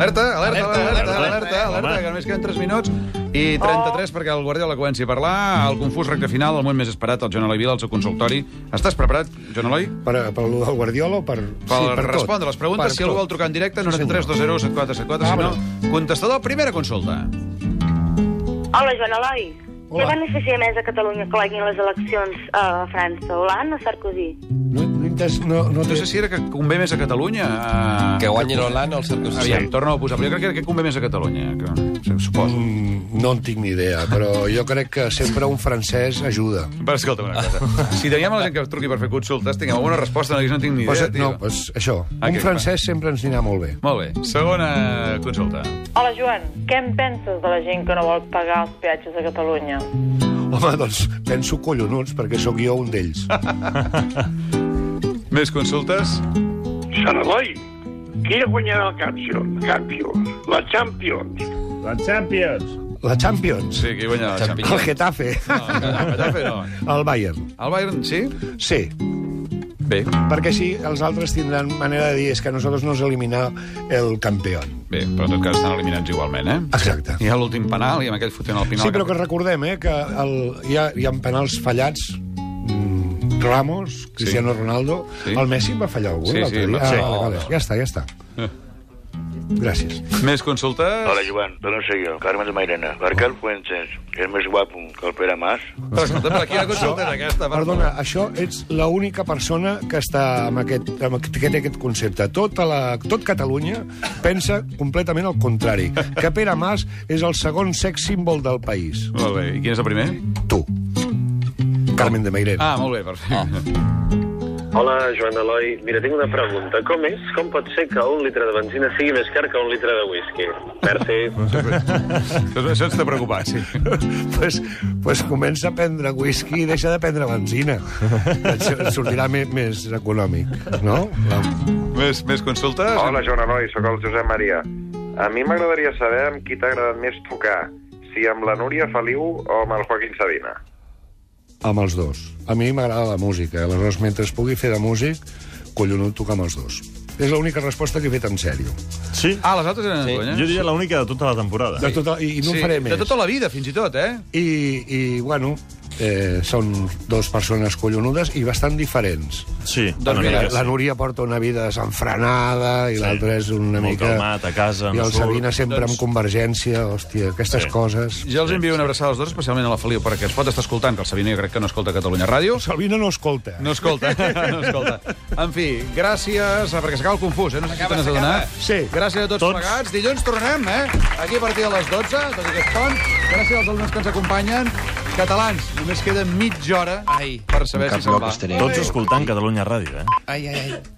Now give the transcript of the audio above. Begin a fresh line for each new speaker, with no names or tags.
Alerta, alerta, alerta, alerta, alerta, alerta,
Home.
alerta que només queden 3 minuts i 33 perquè el Guardiola comenci a parlar. El confús recte final, el moment més esperat, el Joan Eloi Vila, al seu consultori. Estàs preparat, Joan Eloi?
Per, per allò del Guardiola o per...
Per sí, respondre les preguntes, si algú vol trucar en directe, 903 201 7474, si no, contestador, primera consulta.
Hola, Joan Eloi.
Hola.
Què beneficia més a Catalunya que guanyin les eleccions a França? Hollande o Sarkozy?
No, no, entes- no, no,
No
té...
sé si era que convé més a Catalunya... eh,
Que guanyin l'Holanda o el Sarkozy.
Aviam, torno a posar, però jo crec que era que convé més a Catalunya, que, suposo.
Mm, no en tinc ni idea, però jo crec que sempre un francès ajuda.
Però escolta'm una cosa. Si teníem la gent que truqui per fer consultes, tinguem alguna resposta, no, no tinc ni idea.
Pues,
tio.
no, pues, això.
Ah,
Un
que-
francès sempre ens anirà molt bé.
Molt bé. Segona consulta.
Hola, Joan. Què en penses de la gent que no vol pagar els peatges a Catalunya?
Home, doncs penso collonuts, perquè sóc jo un d'ells.
Més consultes?
Sant Eloi, qui guanyarà el Champions? Champions. La Champions.
La Champions.
La Champions.
Sí, qui guanyarà la Champions? Ah.
El Getafe.
Getafe, no.
El Bayern.
El Bayern, sí?
Sí,
Bé,
perquè així els altres tindran manera de dir és que nosaltres no ens eliminar el campió.
bé, però en tot cas estan eliminats igualment, eh?
Exacte.
Hi ha l'últim penal i amb aquell fotent al final...
Sí, però que recordem, eh, que el, hi, ha, hi ha penals fallats mm, Ramos, Cristiano Ronaldo...
Sí.
El Messi en va fallar algú,
Sí, sí,
l'altre dia.
va- sí.
Ah, vale, vale. Ja està, ja està. Gràcies.
Més consultes?
Hola, Joan, no sé jo, Carmen de Mairena. Per què el Fuentes és més guapo que el Pere Mas?
Però escolta, per aquí la consulta era aquesta. per
Perdona,
favor.
això ets l'única persona que està amb aquest, amb aquest, que té aquest concepte. Tota la, tot Catalunya pensa completament el contrari, que Pere Mas és el segon sex símbol del país.
Molt bé, i quin és el primer?
Tu. Carmen de
Ah,
Meirena.
molt bé, perfecte.
Hola, Joan Eloi. Mira, tinc una pregunta. Com és? Com pot ser que un litre de benzina sigui més car que un litre de whisky? Merci.
Això, això ens té preocupat, sí.
Pues, pues comença a prendre whisky i deixa de prendre benzina. Et s- et sortirà més, més econòmic, no?
Més, més consultes?
Hola, Joan Eloi, sóc el Josep Maria. A mi m'agradaria saber amb qui t'ha agradat més tocar, si amb la Núria Feliu o amb el Joaquín Sabina.
Amb els dos. A mi m'agrada la música, eh? aleshores, mentre es pugui fer de músic, collonut tocar amb els dos. És l'única resposta que he fet en sèrio.
Sí?
Ah, les altres eren sí. conya?
Jo diria l'única de tota la temporada.
De tota, I i no sí, faré més.
De tota la vida, fins i tot, eh?
I, I, bueno, eh, són dues persones collonudes i bastant diferents.
Sí,
Doncs
una
mira,
mica.
La, la Núria porta una vida desenfrenada i
Sí.
l'altra és una
Molt
mica...
calmat, a casa,
I
no
el
surt.
Sabina sempre
Doncs-
amb convergència, hòstia, aquestes
Sí.
coses...
Jo els envio una abraçada als dos, especialment a la Feliu, perquè ens pot estar escoltant, que el Sabino jo crec que no escolta Catalunya Ràdio.
Sabina no escolta.
No escolta, no escolta. En fi, gràcies, eh, perquè s'acaba el confús, eh? No sé si t'has adonat.
Sí.
Gràcies a tots,
Tots.
tots plegats. Dilluns tornem, eh? Aquí a partir de les 12, tot aquest pont. Gràcies als alumnes que ens acompanyen. Catalans, només queda mitja hora
Ai.
per saber si se'n va.
Tots escoltant Catalunya Ràdio, eh?
Ai, ai, ai.